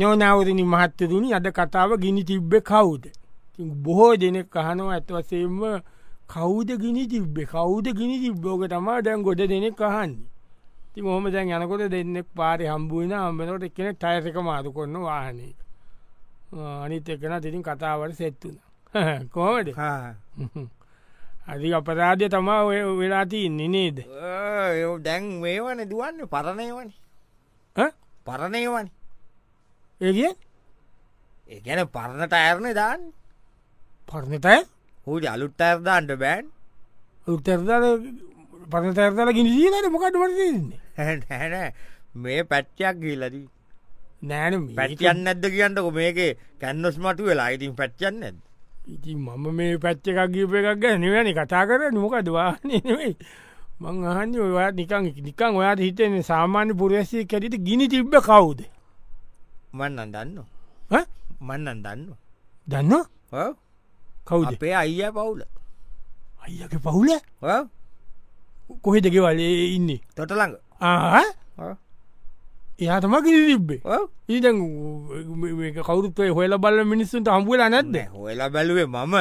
නෝනාවරණි මහත්තරුණි අද කතාව ගිනි තිබ්බ කවුද. ඉතින් බොහෝ දෙනෙක් අහනෝ ඇත්වසේම කෞද ගිනි තිබ්බේ කෞද ගිනි තිබ්බෝක තමා දැන් ගොඩ දෙනෙක් අහන්නේ. ති මොහම දැන් යනකොට දෙන්නෙක් පාරි හම්බුවන අම්බනොට එකන ටයසක මාරු කොන්න වාහනේ. අනිත් එකන තිරින් කතාවට සෙත්තුන. කෝමට අධි අපරාධය තමා ඔය වෙලාතින්නේ නේද දැන් වේවන දුවන්න පරණයවන ඈ? පරණයවන එරිය ඒ ගැන පරණට අයරණ දාන්න පරණතය හුඩි අලුත් අයර්දාන්ට බෑන් උත්තරදල පරතැරතල ගිනිදීනට මොකට වටදන්නේ හැන මේ පැච්චයක් ගීලදී නෑන පැටියන්න ඇද කියන්නක මේකේ කැන්නොස් මතු වෙලා ඉතින් පැච්චන්න ඇද ඉති මම මේ පැච්ච එකක් ගීප එකක් ගැ නිවැනි කතා කර නොක දවානෙවෙයි මං අහන්න ඔයා නිකං නිකං ඔයාට හිතන සාමාන්‍ය පුරවැසිය කැටිට ගිනි තිබ්බ කවුද මන්නන් දන්න ඈ? මන්නන් දන්න දන්න ඔව්. කවුද අපේ අයිය පවුල අයක පවුල ඔව්. කොහෙදක වලේ ඉන්නේ තොටළඟ ආ ඔව්. එයා තම ගිනි තිබ්බේ ඔව්. ඊදැන් කවුරුත්වය හොල බල්ල මිනිස්සුන්ට හම්බුවල නැත්ද හොයලා බැලුවේ මම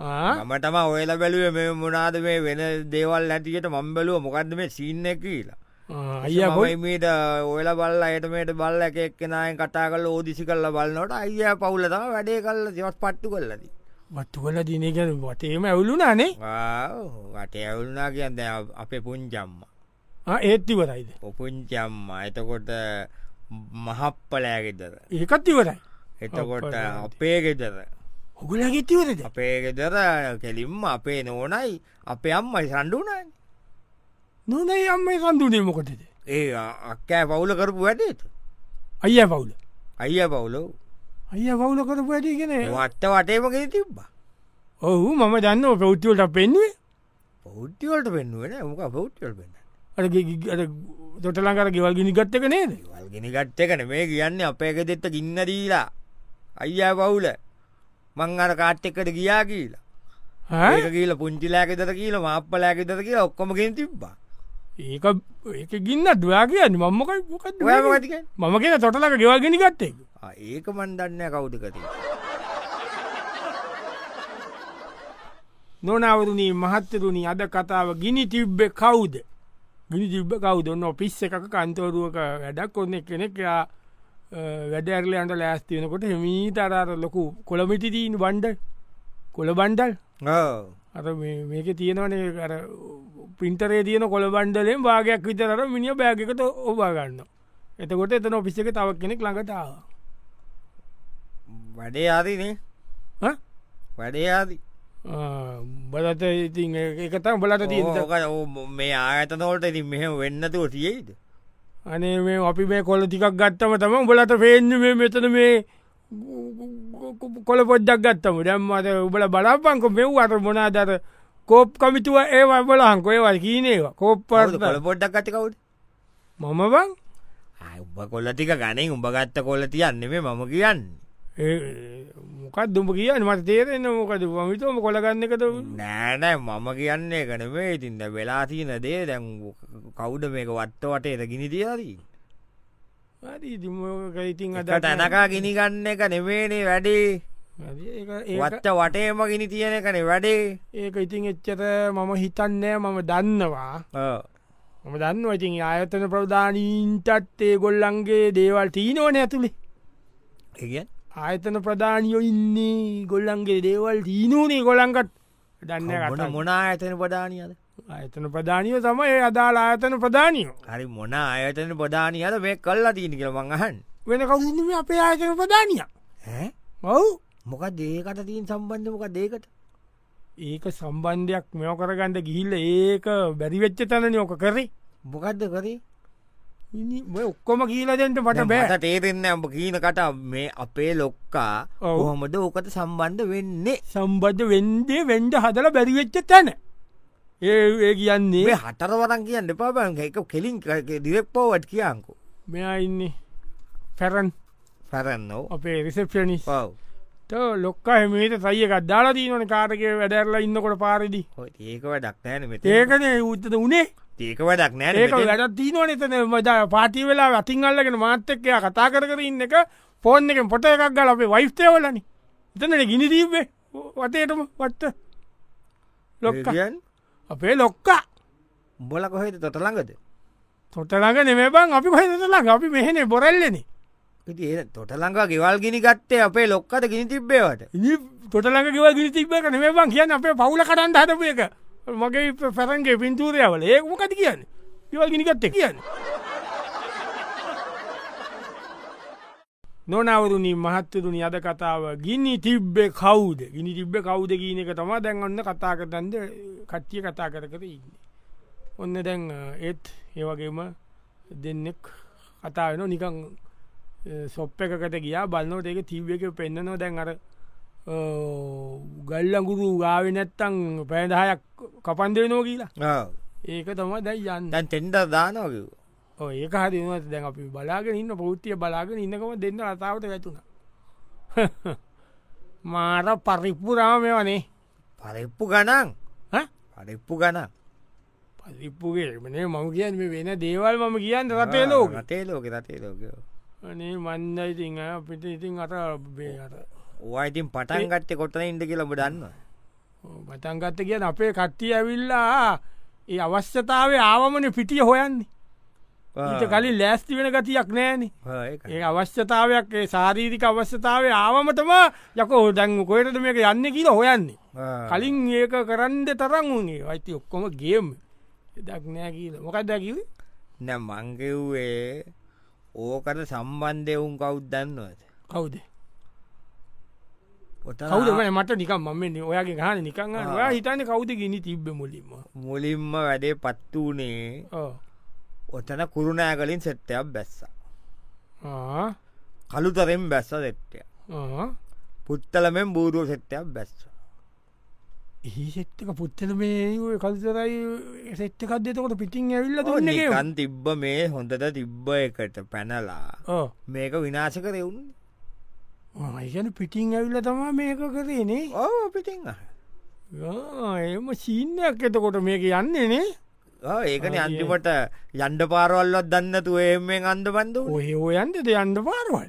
මම තම ඔයලා බැලුවේ මේ මොනාද මේ වෙන දේවල් ඇතිකට මම් බැලුව මොකක්ද මේ සිීන්න කියලා අයිය කොයි මීට ඔයලා බල්ල අයටමට බල්ල එකක් කෙනයෙන් කටා කල ඕදිසි කල්ල බලන්නට අයිය පවුල තම වැඩේ කල්ල දෙවත් පට්ටු කල්ලදී වත්තු කල දිනක වටේම ඇවුලුනානේ වට ඇවුල්නා කියන්න අපේ පුංචම්ම ඒත්තිවරයිද ඔපුංචම්ම එතකොට මහප්පලෑගෙදර ඒකත්තිවරයි එතකොට අප්පලාගෙදර. අපේ ගෙදර හොගුල ගෙත්තිවරද අපේ ගෙදර කෙලින්ම අපේ නෝනයි අපේ අම්මයි සණ්ඩුනයි නොනයි අම්ම සඳුනේ මොකටද ඒ අක්කෑ පවුල කරපු වැඩේතු අයිය පවුල අයිය පවුලෝ අයිය පවුල කරපු ඇටිගෙන වත්ත වටේමගේ තිබ්බා ඔහු මම දන්න පැෞ්තිවලට පෙන්ුවේ පෞද්තිවලට පෙන්ුවෙන මක පෞද්තිවල් පෙන්න්න අර තොටලංකර ගෙවල් ගිනිගත්තක නේද වල්ගෙන ගට්ට එකන මේ කියන්න අපේක දෙත්ත ගින්න දීලා අයියා පවුල මං අර කාට් එකට ගියා කියලා ඈ? ඒක කියල පුංචිලෑකෙදර කියල මාප්පලෑකෙදර කියලා ඔක්කොමගෙන් තිබ්බා ඒක ඒක ගින්න දයා කියන්න මම්මකයි මොකත් ඔයමගතික මම කියෙන තොටලක ගෙවල් ගෙනගත්තේ ඒක මන්දන්න කවුදකති නොනවරණී මහත්තරුණි අද කතාව ගිනි තිබ්බ කවුද ගිනි තිබ්බ කවුදන්න පිස්ස එකක කන්තවරුවක වැඩක් කොන්න කෙනෙක්යා වැඩඇරලයන්ට ලෑස්තියනකොට හෙමී තරාර ලොකු කොළමිටිදීන් බන්ඩ කොළ බන්ඩල් අර මේ- මේක තියෙනවනේ කර පින්ටරේ තියන කොළ බන්ඩලෙන් භාගයක් විතරර මිනිිය බෑගකට ඔබාගන්න එතකොට එතන ඔපිස්ස එක තවක් කෙනෙක් ළඟටාව වැඩේ ආදිනේ වැඩේ ආදි බලත ඉතින් එකතම් බලට තියෙන ඕක ඕ- මේ ආයතනෝට ඉතින් මෙහම වෙන්නතුව තියෙයිද අනේ මේ අපි මේ කොල ටිකක් ගත්තම තම උඹලට පේන්න මේ මෙතන මේ කොල පොද්දක් ගත්තම දැම් අත උබල බලාපංකො මෙව් අත මොනාදර කෝප් කමිතුව ඒවා බලහංකො ඒවල් කීනේවා කෝප් පර කොල පොඩ්ඩක් ඇති කවුට මම බං උඹ කොල්ලතික ගනින් උඹගත්ත කොල්ල තියන්නේ මේ මම කියන්න මොකක් දුම කියන්න මට තේරෙන්න මොකද පමිතුම කොලගන්න එකත නෑනෑ මම කියන්නේ කනවේ ඉතින්ද වෙලා තියන දේ දැන් කවුඩ මේක වත්ත වටේද ගිනි තියදී ඉතින් අද තැනකා ගිනිගන්න එක නෙමේනේ වැඩේ වත්ත වටේම ගිනි තියෙන කනේ වැඩේ ඒක ඉතින් එච්චත මම හිතන්නෑ මම දන්නවා ඔව්. මම දන්න ඉතින් ආයතන ප්‍රධානීන්ටත් ඒ ගොල්ලන්ගේ දේවල් තිීනෝන ඇතුළේ ඒ කියන්- ආයතන ප්‍රධානියෝ ඉන්නේ ගොල්ලන්ගේ දේවල් තීනූනේ ගොලන්කත් මොන දන්න මොනා ඇතන පඩානියද ආයතන ප්‍රධානියෝ තමයි ඒ අදාළ ආයතන ප්‍රධානියෝ හරි මොන අයතන ප්‍රධානියද මේ කල්ලා තියෙන කියල මඟහන් වෙන කවුම අපේ ආයතන ප්‍රධානිය ඔවු මොක දේකට තියන් සම්බන්ධ මොක දේකට ඒක සම්බන්ධයක් මෙෝ කරගන්න ගිහිල්ල ඒක බැරිවෙච්ච තන යෝක කරේ මොකක්ද කරේ ඉනි ඔය ඔක්කොම කියීලදෙන්ට මට බෑ බෑට තේරෙන්න ඇඹ කියීන කට මේ අපේ ලොක්කා ඔව්. ඔහොමද ඕකට සම්බන්ධ වෙන්නේ සම්බද්ධ වෙන්දේ වෙන්ඩ හදල බැරිවෙච්ච තැන ඒ ඒ කියන්නේ මේ හතරවරන් කියන්න පාබන් එක කෙලින් දිරෙක් පෝවට් කියංකු මෙයා ඉන්නේ පැරන් පැරන්නෝ අපේ රිසප්ෂනිස් පව් ලොක්ක හමේට සයික දාලා දීනන කාරක වැඩරලා ඉන්නකොට පාරිදි ඒක වැඩක් නෑන මෙ ඒකන උත්තද වනේ ඒක වැඩක් ඒක නෑ වැඩ තිීනවන එතන මදා පාටි වෙලා වැතින් අල්ලගෙන මාත්‍යකයා කතා කර කර ඉන්න එක පෝන් එකෙන් පොට එකක් ගල අපේ වයිස්තයවලනි එතනට ගිනි දීබ්බේ වතයටම වත්ත ලොක්ක අපේ ලොක්කා බොල කොහෙද තොටළඟද තොටලඟ නෙමේ බං අපි පහතලා අපි මෙහෙනේ බොරල්ලෙන ඉති ඒ තොටළඟා ගෙවල් ගිනි ගත්තේ අපේ ලොක්කට ගිනි තිබ්බේවට ඉනි තොටලඟ ගව ගිනි තිබ්බක නෙමේ බං කියන්න අපේ පවුල කටන්ට හදපු එක මගේ පැරන්ගේ පින්තූරයවල ඒ මොකද කියන්න ගවල් ගිනිකත්ත කියන්න නොනවරුණී මහත්තරුණි අද කතාව ගිනි තිබ්බේ කවුද ගිනි තිබ්බ කවුද කියන එක තමා දැන් ඔන්න කතා කරතන්ද කට්ටිය කතා කර කර ඉන්න ඔන්න දැන් අ, ඒත් ඒවගේම දෙන්නෙක් කතාාවෙන නිකං සොප් එකකට ගියා බලන්නෝට ඒක තිබ්බ එක පෙන්න්නනො දැන් අර අ, ගල්ලඟුරු ගාවෙ නැත්තං පැදහයක් කපන්දනෝ කියලා ඒක තම දැයි යන්න දැන් තෙන්ඩ දානෝකිව ඔය ඒක හරිමත් දැන් අපි බලාගෙන ඉන්න පෞෘතිය බලාගෙන ඉන්නකම දෙන්න රතාවට වැැතුුණ මාර පරිප්පුරාම වනේ පරෙප්පු ගනන් පරෙප්පු ගනන් පරිප්පුගේමනේ මම කියන් මේ වෙන දේවල් මම කියන්න රටේ ලෝක රටේ ලෝක රටේ ලෝකෝ අනේ මන්ද ඉතිං අපිට ඉතින් අත බේට ඕයිතින් පටන් ගට්ටේ කොටන ඉඩ කියලබ දන්න පටන්ගත්ත කියන අපේ කට්ටිය ඇවිල්ලා ඒ අවශ්‍යතාවේ ආවමන පිටිය හොයන්නේ ඊට කලින් ලෑස්ති වෙන ගතියක් නෑනේ ඒ අවශ්‍යතාවයක් ඒ සාරීරික අවශ්‍යතාවේ ආවමටම යකෝ දැන් කොයටද මේක යන්න කියලා හොයන්නේ කලින් ඒක කරන්ද තරන් වුණේ අයිති ඔක්කොම ගේම් දක්නෑ කියල මොකක් දැකිව නැ මංගෙව්වේ ඕකට සම්බන්ධය උන් කවුද්දන්නවද කවුද ඔත කවුදම මට නිකම් මම ඔයාගේ ගහන නිකං අහන. ඔයා හිතන්න කවුද ගිනි තිබ්බ මුලින්ම මුලින්ම වැඩේ පත් වූනේ ඔව්. ඔතන කුරුණෑගලින් සෙට්ටයක් බැස්ස ආ. කළුතරෙන් බැස්ස සෙට්ටය ආ. පුත්තලමෙන් බූරුව සෙට්ටයක් බැස්ස ඒ සෙට්ක පුත්තල මේ කල්සරයි සෙට්කක් දෙතකොට පිටින් ඇවිල්ල දුන්නගේ නිකන් තිබ්බ මේ හොඳට තිබ්බ එකට පැනලා මේක විනාශ කරෙවුන් මයිකන පිටින් ඇවිල්ල තමා මේක කරේනේ ඕ පිටිං ආ, එම සීන්නයක් එතකොට මේක යන්නේ නේ ඒකන අන්තිමට යන්ඩ පාරවල්ලත් දන්නතු ඒෙන් අන්ද බන්ඳ කොහෙ හොයන්ද ද යන්න පාරවල්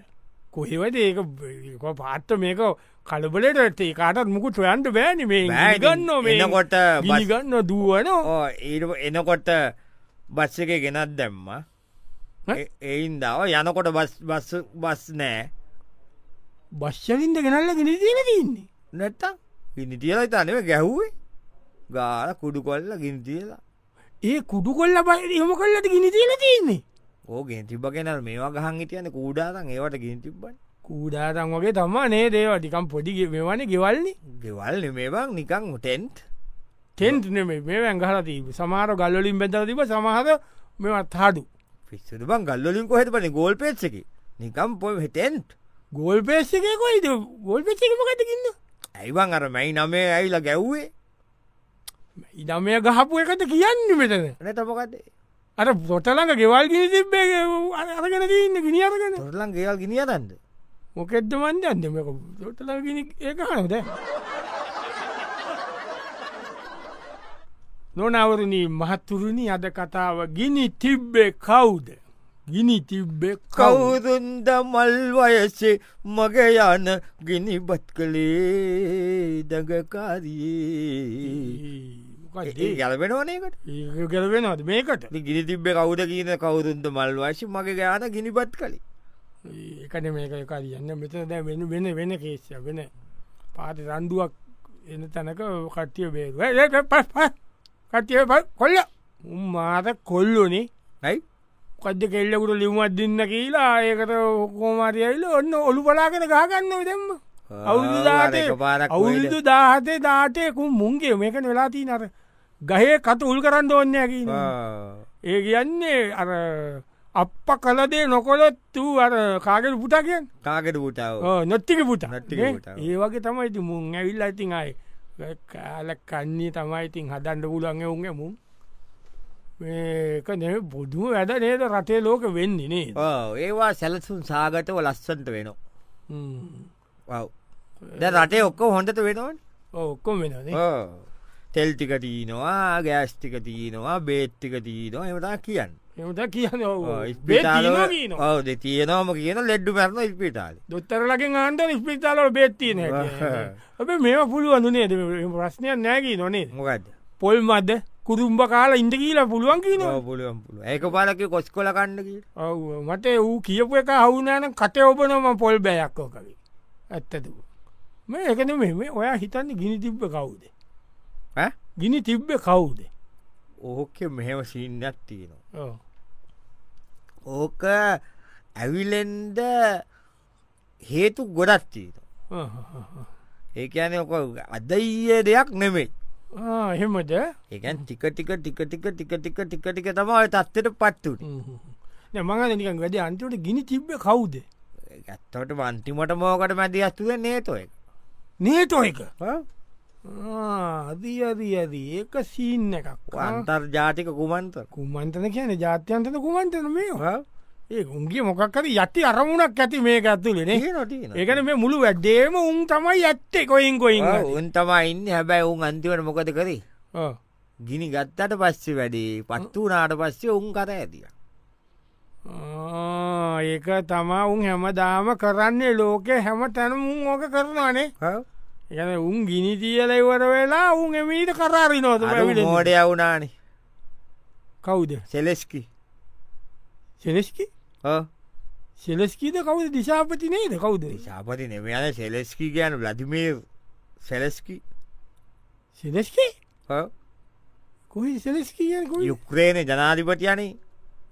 කොහෙවද ඒක බ- පාත්ත මේක කලබලට ඇත්තේ කාටත් මුකු ටොයන්ට බෑන මේ බෑ ඉතින් ගන්න මේ එනකොට බස්- ගිනිගන්න දුවන ඊට එනකොට බස් එක ගෙනත් දැම්ම ඈ? එයින් දාව යනකොට බස් බස් බස් නෑ බශ්ෂලින්ද ගෙනල්ල ගෙන දීන තින්නේ නැත්තම් ගිනිතියල තනව ගැහ්වේ ගාල කුඩු කොල්ල ගින්තියලා ඒ කුඩු කොල්ල බයි හම කල්ලට ගිනි දීන තින්නේ ඕ ගෙන තිබ කෙනල් මේවා ගහන් හිතියන කූඩාතන් ඒවට ගින් තිබ්බන් කූඩාතන් වගේ තමා නේ දේව ටිකම් පොඩි මෙවන ගෙවල්න්නේ ගෙවල් මේබං නිකං ටෙන්ට් තෙන්ට් නෙමේ මේ වැංගහල තිීම සමාර ගල්ලින් බැඳල තිබ සමහර මෙවත් හඩු පිස්සුට බං ගල්ලින් කොහෙට පන ගෝල් පේච්චකි නිකම් පො හෙටෙන්ට් ගෝල් පේස්සකයකොයිද ගෝල් පච්චකමකටකින්න ඇයිවන් අර මැයි නමේ ඇයිලා ගැව්වේ ඉඩමය ගහපු එකට කියන්න මෙතන නැතමකතේ අර පොටලඟ ගෙවල් ගිනි තිබ්බේ අරගෙන දන්න ගිනි අරගෙන තොරලන් ගේවල් ගිනිියතන්ද මොකෙද්ද මන්ද අන්දමක ොටල ගිනි ඒක හනද නොනවරණී මහත්තුරුණි අද කතාව ගිනි තිබ්බේ කවුද ගිනි තිබ්බේ කවුද කවුරුන්ද මල් වයසේ මගේ යන ගිනිබත් කළේ දඟකාරයේ ගැලබෙන ඕනකට ගැලවෙනවද මේකට ගිනි තිබ්බ කවුද කියන කවුරුන්ද මල් වශ මගේ ගාන ගිනිබත් කළේ ඒකන මේක කරයන්න මෙතන දැ වෙන වෙන වෙන කේෂය වෙන පාට රන්ඩුවක් එන තැනක කට්ටිය බේරුව ඒක පස් පස් කට්ටිය ප කොල්ල උම්මාත කොල්ලුනේ ඇයි කද්ද කෙල්ලකුට ලිවමත් දෙන්න කියලා ඒකට හොකෝමාරයල්ල ඔන්න ඔලු පලාගෙන ගාගන්න දෙම්ම අවුදු දාටේ පාරක් අවුරුදු දාහතේ දාටයකු මුන්ගේ මේකන වෙලාතිී නර ගහේ කට උල් කරන්න ඔන්නයකි ඒ කියන්නේ අර අප කලදේ නොකොලොත් වූ අර කාගෙට පුටා කියන්න කාකට පුටාව නොත්තික පුට නොත්තික පුතා. ඒවගේ තමයිති මුන් ඇවිල්ල ඉතින් අයි eh, කාල කන්නේ තමයිඉතින් හදන්ඩ පුලන්ග උන්ගේ මුම් ඒක නෙ බොදුම වැඩ නේද රටේ ලෝක වෙන්නේ නේ Oh. ඒවා සැලසුන් සාගතව ලස්සන්ට වෙනවා හ්ම්. ඔව්. දැන් රටේ ඔක්කෝ හොඳට වෙනවන් Oh, Oh. ඔව්, ඔක්කොම වෙනනේ ඕ. තෙල්ටික තියනවා ගෑස්ටික තියනවා බේට්ටික තියනවා එමතා කියන්න එමට කියන Oh, ස්පිටාල ඔවද තියනවාම කියන ලෙඩ්ඩු පැරන ස්පිටාලි දොත්තරලකින් ආන්ට ස්පිතාලට බෙත්තින ඔබ මේම පුළුවන්ුනේ ප්‍රශ්නයක් නෑකී නොනේ මොකක්ද පොල් මද කුරුම්ඹ කාලා ඉන්ට කියලා පුළුවන් කියනවා පුළුවන් පුළුව ඒක පාලක කොස් කොල කණ්ඩකි ඔව් මට වූ කියපු එක හවුනාන කට ඔබනම පොල් බෑයක්කෝ කලේ ඇත්තතු මේ එකන මෙම ඔයා හිතන්න ගිනි තිබ්බ කවුද ගිනි තිබ්බ කවුද ඕක මෙහෙම සින්නත් තියෙනවා ඔව්. ඕක ඇවිලෙන්ද හේතු ගොඩත් තියෙන ආහ්. ඒකන ඔක අදයිය දෙයක් නෙමෙයි ආ, එහෙමද ඒකන් ටික ටික ටික ටික ටික ටික ටික ටික තමයි තත්වට පත්තුට නෑ, මං නික වැඩ අන්තිවට ගිනි තිබ්බ කවුද ඇත්තවට මන්තිමට මෝකට මැදි අස්තුව නේතොය නේටෝ එක අදී අදී අදී ඒක සීන්න එකක් අන්තර් ජාතික කුමන්තර කුමන්තන කියන ජාත්‍යන්තන කුමන්තන මේ ඒ උන්ගේ මොකක්කර යති අරමුණක් ඇති මේක ඇතුලෙන නොට ඒකන මේ මුළු වැඩ්ඩේම උන් තමයි ඇත්තේ කොයින් කොයින් උන් තමයි ඉන්න හැබැයි උන් අන්තිවට මොකද කරේ ආ. ගිනි ගත්තට පස්සේ වැඩේ පත්තු වනාට පස්සේ උන් කර ඇතිය ආ, ඒක තමා උන් හැමදාම කරන්නේ ලෝකෙ හැම තැනම උන් ඕක කරනවානේ ගැන උන් ගිනි තියල ඉවර වෙලා උන් එමීට කරාරි නොත මෝඩය වුනානේ කවුද සෙලෙස්කි සෙලෙස්කි සෙලෙස්කීද කවුද දිශාපති නේද කවුද ශාපති නෙම යන සෙලෙස්කි කියන ලදිමේ සෙලෙස්කි සෙලෙස්කි කොහි සෙලෙස්කීය යුක්්‍රේණ ජනාධිපතියනේ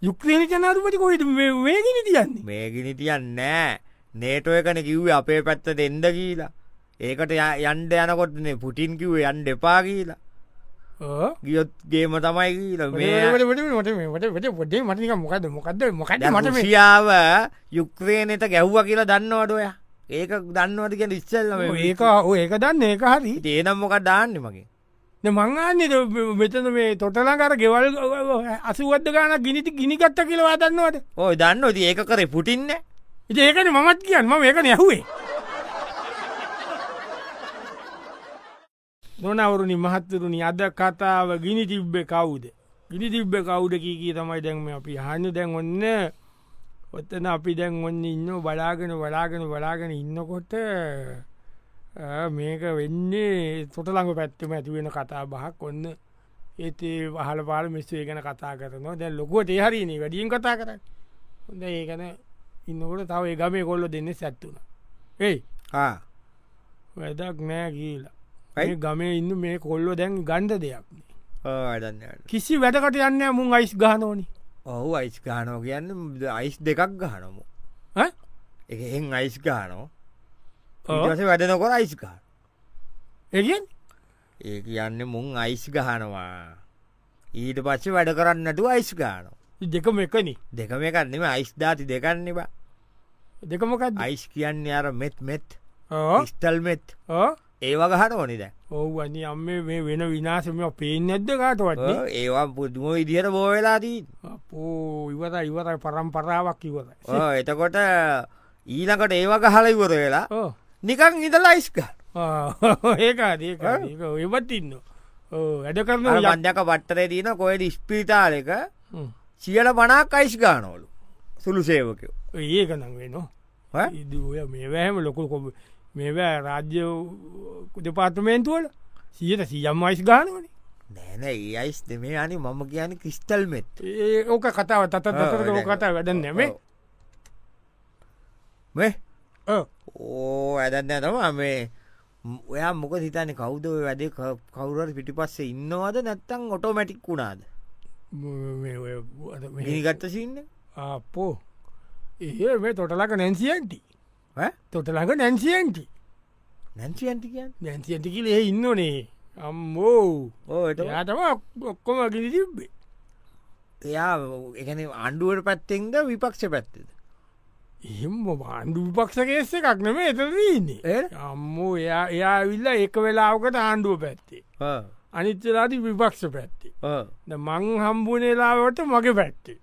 යුක්්‍රේණ ජනාධපති කොයිට මේ ගිනි තියන්නේ මේ ගිනි තියන් නෑ නේටෝ එකන කිව්ව අපේ පැත්ත දෙන්න කියලා ඒකට ය- යන්ඩ යනකොටනේ පුටින් කිව්ව යන්ඩ එපා කියලා ඕ. ගියොත් ගේම තමයි කියලා මේ වැඩ- වැඩ- වැඩ- වැඩ- වැඩ- වැඩ- වැඩේ මට නිකන් මොකක්ද මොකක්ද මොකක්ද මට මේ- මටමියාව යුක්්‍රේණයට ගැව්වා කියලා දන්නවටඔය ඒක දන්නවට කිය ඉස්සල්ල ඔය ඒක ඔය ඒක දන්න ඒක හරි ඒනම් මොක දාන්න මගේ නේ මංආන්නේ මෙතන මේ තොටලකර ගෙවල් අසුවද ගාන ගිනිති ගිනිගත්ත කියලා දන්නවට ඕය දන්න ති ඒක කරේ පුටින්න ඉති ඒකන මමත් කියන්න ම ඒකන යහුවේ නොනවරුණි මහත්තරුණි අද කතාව ගිනි තිබ්බෙ කවුද ගිනි තිබ්බ කවුඩ කීකී තමයි දැන්ම අපි හන්න දැන් ඔන්න ඔත්තන අපි දැන් ඔන්න ඉන්න බලාගෙන බලාගෙන බලාගෙන ඉන්නකොට ආ, මේක වෙන්නේ තොටළඟ පැත්තම ඇතිවෙන කතා බහක් ඔන්න ඒත් ඒ වහල පාල මිස්සේ ගැන කතා කරනවා දැන් ලොකුවට හරිනි වැඩියෙන් කතා කරන්න හොඳ ඒකන ඉන්නකොට තව ඒ ගමේ කොල්ලො දෙන්න සැත්තුන ඒයි වැදක් නෑ කියලා ඇයි ඇයි? ගමේ ඉන්න මේ කොල්ලො දැන් ගණ්ඩ දෙයක් ආඩන්න කිසි වැඩකට යන්න මුන් අයිස් ගානෝනි ඔහු අයිස් ගානෝ කියන්න අයිස් දෙකක් ගහනමු ඈ? එහෙන් අයිස් ගානෝ ඉටස වැඩනකොට අයිස්කාර එගෙන් ඒ කියන්න මුන් අයිස් ගහනවා ඊට පස්සේ වැඩ කරන්නටු අයිස් ගානෝ දෙකම එකන දෙකම එකන්නෙම අයිස් ධාති දෙකන්නවා දෙකමකත් අයිස් කියන්නේ අර මෙත් මෙත් ස්ටල් මෙත් ඕ ඒවා ගහන ඕනිද ඔවුනි අම්ම මේ වෙන විනාසම පේෙන් ඇද්ද කාටවටන ඒවා පුදුම ඉදිහට බෝවෙලාදී පෝ ඉවර ඉවර පරම්පරාවක් ඉවරයි එතකොට ඊනකට ඒවා ගහල ඉවර වෙලා ඕ නිකං ඉඳලා අයිස්ක ඒකාදක එවත් ඉන්න ඕ, වැඩ කරන ඔය මන්දක පට්ටරේ තියන කොයට ස්පිරිතාලක හ්ම්. සියල පනාක් අයිස් ගානෝලු සුළු සේවකයෝ ඒක නම් වෙනවා ඈ? ඉදය මේවැහම ලොකු කො මේවැ රාජ්‍ය දෙපාර්තමේන්තුවල සියට සියම් අයිස් ගානවන නෑන ඒ අයිස් දෙ මේ අනි මම කියන කිස්ටල් මෙත් ඒ ඕක කතාව තත දතර ඔව්, කතා වැඩ නැමේ මේ ඕ ඇදන්න තම මේ ම්, ඔයා මොක හිතන කෞද වැඩ කවුරට පිටි පස්සේ ඉන්නවාද නැත්තං ඔටෝමැටික් වුණාද මිනිගත්ත සින්න අපෝ ඒ මේ තොටලක නැන්සියන්ටි තොටලඟ නැන්සියන්ටි නැන්සියන්ටි කියන්න නැන්සියන්ටිකිල ඒ ඉන්නනේ අම්මෝ ඕට එයාතම ඔක්කොම ගිලි තිබ්බේ එයා එකන අණ්ඩුවට පැත්තෙන්ද විපක්ෂ පැත්තද එහෙම ආණ්ඩු විපක්ෂකේස එකක් නම එතරදීන්නේ ඒ අම්මෝ එයා එයා විල්ල එක වෙලාවකට ආණ්ඩුව පැත්තේ අනිත්‍යලාති විපක්ෂ පැත්තේ ද මං හම්බුනේලාවට මගේ පැත්තේ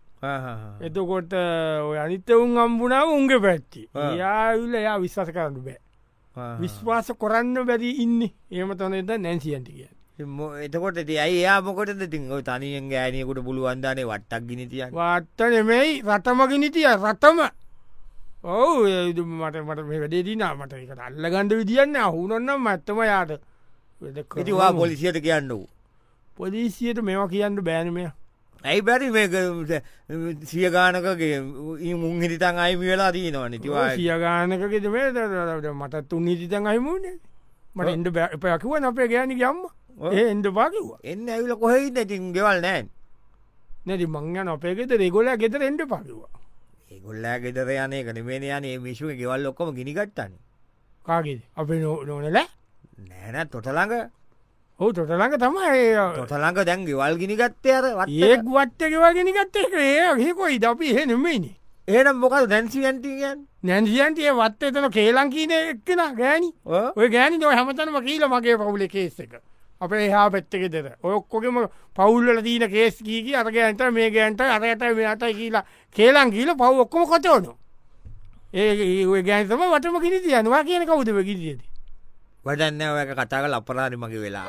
එතකොට ඔය අනිත්‍යවුන් අම්බුනාව උන්ගේ පැත්තේ ආ. යාවිල්ල එයා විශ්වාස කරන්න බෑ විශ්වාස කොරන්න බැරි ඉන්න ඒම තොනෙද නැන්සියන්ටි කිය එතකොට ඇති ඇයි එයා මොකට ඉතින් ඔය තනියෙන් ගෑනියකුට පුළුවන්දානේ වට්ටක් ගිනි තියන්න වත්තනෙමෙයි රටමගෙනතිය රටම ඔවු මට මට මේ වැඩේදිනා මට එකට අල්ලගණඩ විදිියන්න හුනොන්නම් ඇත්තම යාට කිතිවා පොලිසියට කියන්න වූ පොලිසියට මෙවා කියන්න බෑනමය ඇයි බැරි මේක සිය ගානකගේ මුං හිරිතන් අයිමි වෙලා දීනවා නතිවා සියගානකෙද මේ මට තුන් හිතන් අයිමුණේ මට එන්ඩ පැකිවන් අපේ ගෑනි ගම්ම ඒ එන්ඩ පාකිවා එන්න ඇවිල කොහෙහිද ඉතින් ගෙවල් නෑන් නැති මංයන අපේගෙත රෙගොල ගෙතර එන්ඩ පකිවා ඒගොල්ලෑ ගෙදර යනය කනමේ යනේ මිශුව ගෙවල් ඔක්කොම ගිනිගට්ටන්න කාගෙද අපේ නෝ නොනල නෑනැ තොටළඟ ඔහු තොටළඟ තමයි තොටළඟ දැන් ගෙවල් ගිනිගත්තේ අර ඒක් වට්ටකවාගෙනගත්තේ ඒ හෙකොයි ද අපි එහෙනෙමයිනි ඒනම් මොකද දැන්සිවන්ටිගෙන් නැන්සියන්ටඒ වත්ත එතන කේලං කීන එක්කෙන ගෑනි ඔය ගෑනි ඔය හැමතනම කියීල මගේ පවුලි කේස් එක අපේ එහා පැත්තකෙතෙර ඔයක්කොගෙම පවුල්ල දීන කේස් කීකි අරගෑන්ට මේ ගෑන්ට අරයට මෙට කියලා කේලං කියීල පව් ඔක්කොම කොතවනු ඒ ගෑන්තම වටම කිරි යනවා කියන කවුදව කිරියද වැඩන්න ඔයක කතාකල අපරාරි මගේ වෙලා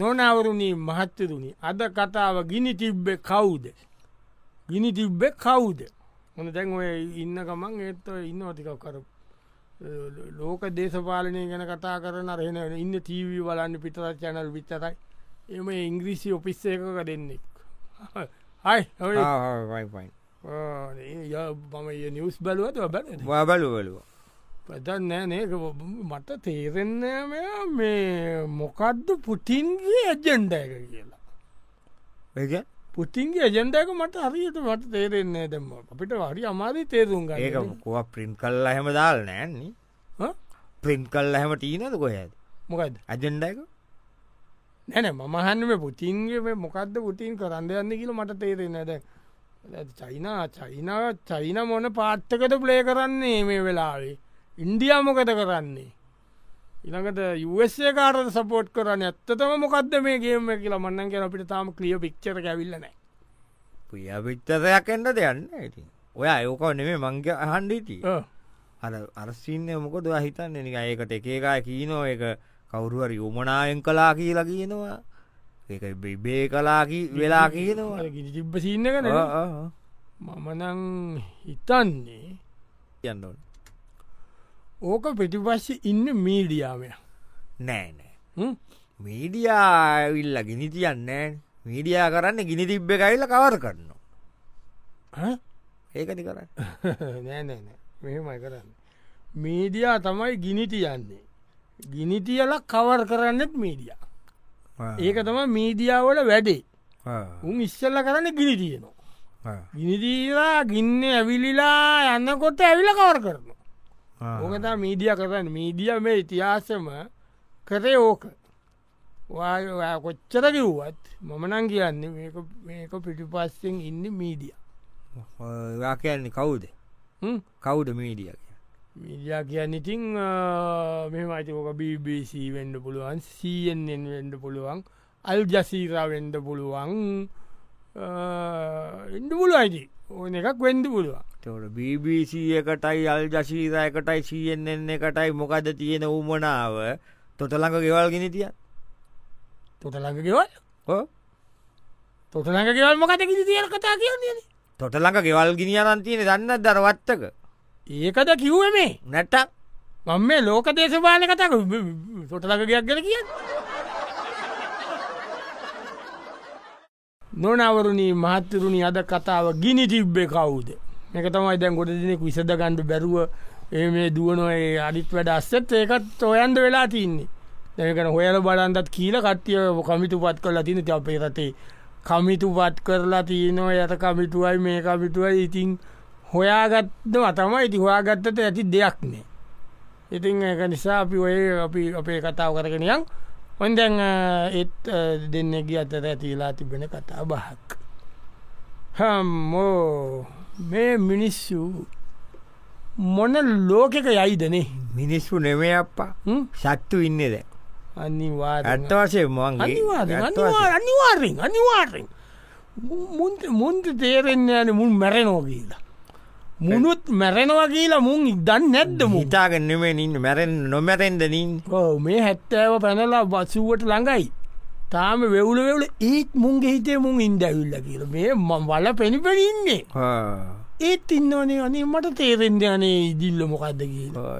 නොනවරුණී මහත්තරුණි අද කතාව ගිනි තිබ්බෙ කවුද ගිනි තිබ්බෙ කවුද හොන දැන් ඔය ඉන්න ගමන් ඒත් ඔය ඉන්න ටිකක් කර ලෝක දේශපාලනය ගැන කතා කරන රෙන ඉන්න තීවී වලන්න පිටර චැනල් විච්චරයි එම ඉංග්‍රීසි ඔපිස්ස එකක දෙන්නෙක් හයි ඔය වයිෆයින් මම නිියස් බැලුවත බැ වාබලුවලුව පතන් නෑනක මට තේරෙන්නේ මෙයා මේ මොකක්ද පුටින්ගේ ඇජෙන්ඩ එක කියලා ඒක පුටින්ගේ ඇජෙන්ඩක මට හරියට මට තේරෙන්නේ දෙම අපිට වරි අමාරි තේරුම් ඒක ගන්න මොකවා ප්‍රින්් කල්ලා හැම දාල් නෑන්නේ හ? ප්‍රින්් කල්ලා හැම ටීනද කොහද මොකද අජෙන්ඩයක නැන මමහන්නම පුටින්ගේ මේ මොකක්ද පුටින් කරන්න යන්න කියල මට තේරෙන්නේ දැ චයිනා චයිනා චයින මොන පාට්ටකට ප්ලේ කරන්නේ මේ වෙලාවේ ඉන්ඩියා මොකද කරන්නේ ඉළඟට යුවස්සේ කාරද සපෝට් කරන්න ඇත්තතම මොකක්ද මේ ගේම කියලා මන්නන් කිය අපිට තාම ක්‍රිය පික්්චර ඇවිල්ලනෑ පිය පිච්චරයක් එන්න දෙයන්න ඇති ඔය අයෝකව නෙමේ මංගේ අහන්ඩීති අර අරසින්න මොකද හිතන්න නික ඒකට එකකා කියීනෝ එක කවුරුවර යොමනායෙන් කලා කියලා කියනවා ඒක බිබේ කලාකි වෙලා කියනවා ජිබ්බ සින්න කන මමනං හිතන්නේ යන්න ඕක පිටිපස්ස ඉන්න මීඩියාවය නෑනෑ මීඩියාවිල්ල ගිනි තියන්න මීඩියා කරන්න ගිනි තිබ්බ කයිල්ල කවර කරනවා ඒකති කරන්න නෑනෑන මෙහෙමයි කරන්න මීඩියා තමයි ගිනිතියන්නේ ගිනිතියල කවර කරන්නෙත් මීඩියා ඒක තම මීඩියාවල වැඩේ උන් ඉස්සල්ල කරන්න ගිනි තියනවා ගිනිදීලා ගින්න ඇවිලිලා යන්නකොට ඇවිල කවර කරනවා ඕකතා මීඩිය කරන්න මීඩිය මේ ඉතිහාසම කරේ ඕක ඔයා- ඔයා කොච්චර කිව්වත් මමනං කියන්නේ මේක- මේක පිටිපස්සෙන් ඉන්න මීඩිය වා කියන්නේ කවුද කවුඩ මීඩිය මීඩිය කියන්න ඉතිං මෙමයිතික BBC වෙන්ඩ පුළුවන් සෙන් වෙන්ඩ පුළුවන් අල් ජසීරා වෙන්ඩ පුළුවන් එඩ පුළුවයිති ඕන එකක් වෙන්ඩ පුළුවන් තවට BBC එකටයි අල් ජශීරය එකටයි සීෙන් එකටයි මොකද තියෙන උමනාව තොටළඟ ගෙවල් ගෙන තිය තොටළඟ ගෙවල් තොටළඟ ගෙවල් මොකට කිසි තියෙන කතා කියන්නේ තොටළඟ ගෙවල් ගිනිියනන් තියෙන දන්න දරවත්තක ඒකද කිව්ව මේ නැට මං මේ ලෝක දේශපාල කතක සොටලකගයක් ගැන කිය නොනවරුණී මහත්තරුණි අද කතාව ගිනි තිබ්බේ කවුද එක තමයි දැන් ගොඩ දෙනෙක් විසඳ ගණ්ඩ බැරුව ඒ මේ දුවනොයි අඩිත් වැඩ අස්සත් ඒකත් ඔයන්ද වෙලා තින්නේ දැකන හොයල බලන්දත් කියීල කට්ටිය කමිතු පත් කරලා තින අපේ රටේ කමිතු පත් කරලා තියනෝ යට කමිටුවයි මේ කමිටුවයි ඉතින් හොයාගත්ත තමයි ඉති හොයාගත්තට ඇති දෙයක් නෑ ඉතිං එක නිසා අපි ඔය අපි අපේ කතාව කරගෙනයන් හොන්දැන් ඒත් දෙන්නගිය අතර ඇතිලා තිබෙන කතා බහක් හම්මෝ මේ මිනිස්සු මොන ලෝකක යයිදනේ මිනිස්සු නෙමේ අප්පා සත්තු ඉන්නද අනිවා ඇත්ත වසේ මන්ගේ අනිවාරෙන් අනිවාරෙන් මුන්ට මුන්ට තේරෙන්න්නේ යන මුන් මැරෙනෝගීලා මුනුත් මැරෙනවා කියලා මුන් ඉදන්න නැද්ද මු හිතාගෙන්නෙමේ නින්න මැරෙන් නොමැරෙන්දනින් ඔව් මේ හැත්තෑව පැනලා බසුවට ළඟයි තාම වෙවුල වෙවුල ඒත් මුන්ගේ හිතේ මුන් ඉන්දැවිල්ල කියල මේ මං වල පෙනිපෙනඉන්නේ ඒත් ඉන්නවනේ අනේ මට තේරෙන්ද අනේ ඉදිල්ල මොකක්ද කියලා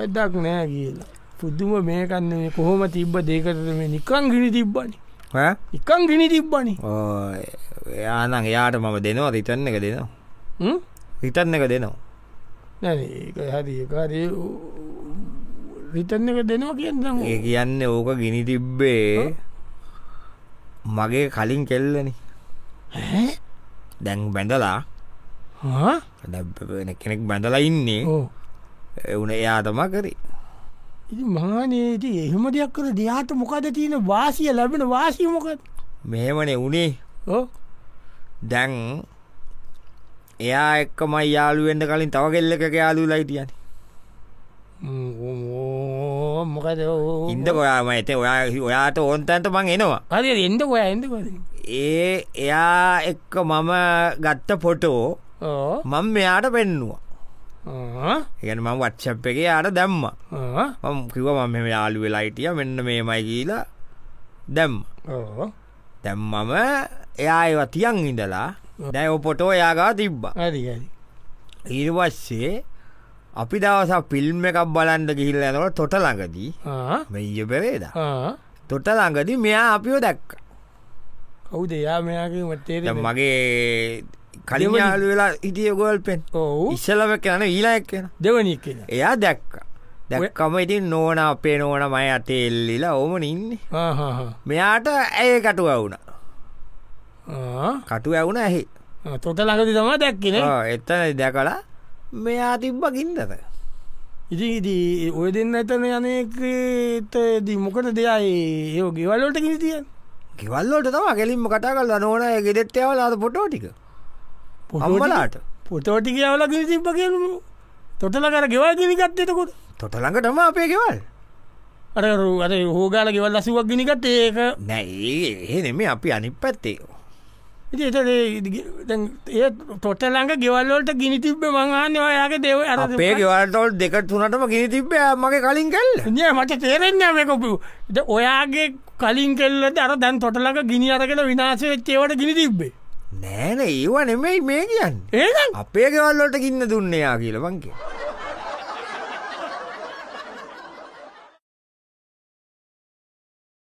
ඇදක් නෑ කියලා පුද්දුම මේකන්න මේ කොහොම තිබ්බ දෙකරට මේ නිකං ගිනි තිබ්බනි නිකං ගිනි තිබ්බනි යානං එයාට මම දෙනවා රිතන්න එක දෙනවා හ්ම්? හිතන්න එක දෙනවා නැ ඒක හරි කාරය රිතන්න එක දෙනවා කියන්නම් ඒ කියන්න ඕක ගිනි තිබ්බේ මගේ කලින් කෙල්ලනි දැන් බැඳලා දැන් බ- කෙනෙක් බැඳලා ඉන්නේ එවුන එයාතම කරේ ඉති මහනේති එහෙම දෙයක් කර දෙයාට මොකද තියෙන වාසිය ලැබෙන වාසී මොකද මෙහෙමනේ උනේ ඕ? දැන් එයා එක්කමයි යාළුවෙන්ට කලින් තව කෙල්ලක යාලු ලයිටියන ම්ම්, ඕ, මොකද ඕ? ඉන්ද කොයාම ඇත ඔයා ඔයාට ඕන්තන්ට මං එනවා හරි හරි, එන්න ඔයා එන්න කොද ඒ එයා එක්ක මම ගත්ත පොටෝ ඕ මං මෙයාට පෙන්නවා ආ, ඒගැන මං වච්චප් එක යාට දැම්මා ආ, මම කිව මම මෙම යාලු වෙලායිටිය මෙන්න මේමයි කියලා දැම් ඕ. දැම් මම එයා ඒවා තියන් ඉඳලා දැයි ඔපොටෝ යාගා තිබ්බා හරි හරි ඉරිවස්සේ අපි දවස පිල්ම් එකක් බලන්ඩ ගිහිල්ල ඇනවට තොට ළඟදී ආ, මෙය පෙරේද ආ. තොට ළඟදී මෙයා අපිෝ දැක්ක කවුද යා මෙයාගේ මත්තේ දැන් මගේ කලින් යාලු වෙලා ඉටිය ගොල් පෙන් ඔවු ඉස්සලව කියන ඊලාක් කියෙන දෙවනි කියෙන එයා දැක්ක දැක්කම ඉතින් නෝන අපේ නෝන මය අතෙල්ලිලා ඕම ඉන්නේ මෙයාට ඇය කටු ඇවුණ කටු ඇවුණ ඇහි තොට ලඟද තමා දැක්කෙන ආ, එතන දැකලා මෙයා තිබ්බ ගින්දක ඉතිදී ඔය දෙන්න ඇතන යනකතදී මොකට දෙයයි ඒ ගෙවල්ලොට කිරි තිය කිවල්ලට තම කෙලින්ම කතා කල නෝන ගෙදෙත්තයවල අද පොටෝටික අම්බලාට පොතෝටි කියවල කිරි තිබ්ප කියලමු තොටල කර ගෙවල් ගිනිගත්තයතකොට තොටළඟටම අපේ ගෙවල් අරරු අර හෝගාල ගෙවල් ලසිවක් ගිනිගත් ඒක නැයි ඒ නෙම අපි අනි පැත්තේ ඉති එත ඒ තොට ලඟ ගෙවල්ලොට ගිනි තිබ්බ මංහන්න ඔයාගේ දෙව අර අපේ ගෙවල්ටොල් දෙක තුනටම ගෙන තිබ්බෑ මගේ කලින් කල්ල නෑ මට තේරෙන්නේ මේකොපු ද ඔයාගේ කලින් කෙල්ලට අර දැන් තොටලක ගිනි අරගෙන විනාශ වෙච්චේවට ගිනි තිබ්බේ නෑන ඒවා නෙමෙයි මේ කියන්න ඒකන් අපේ ගෙවල්ලොට ගින්න දුන්නයා කියලවන්ගේ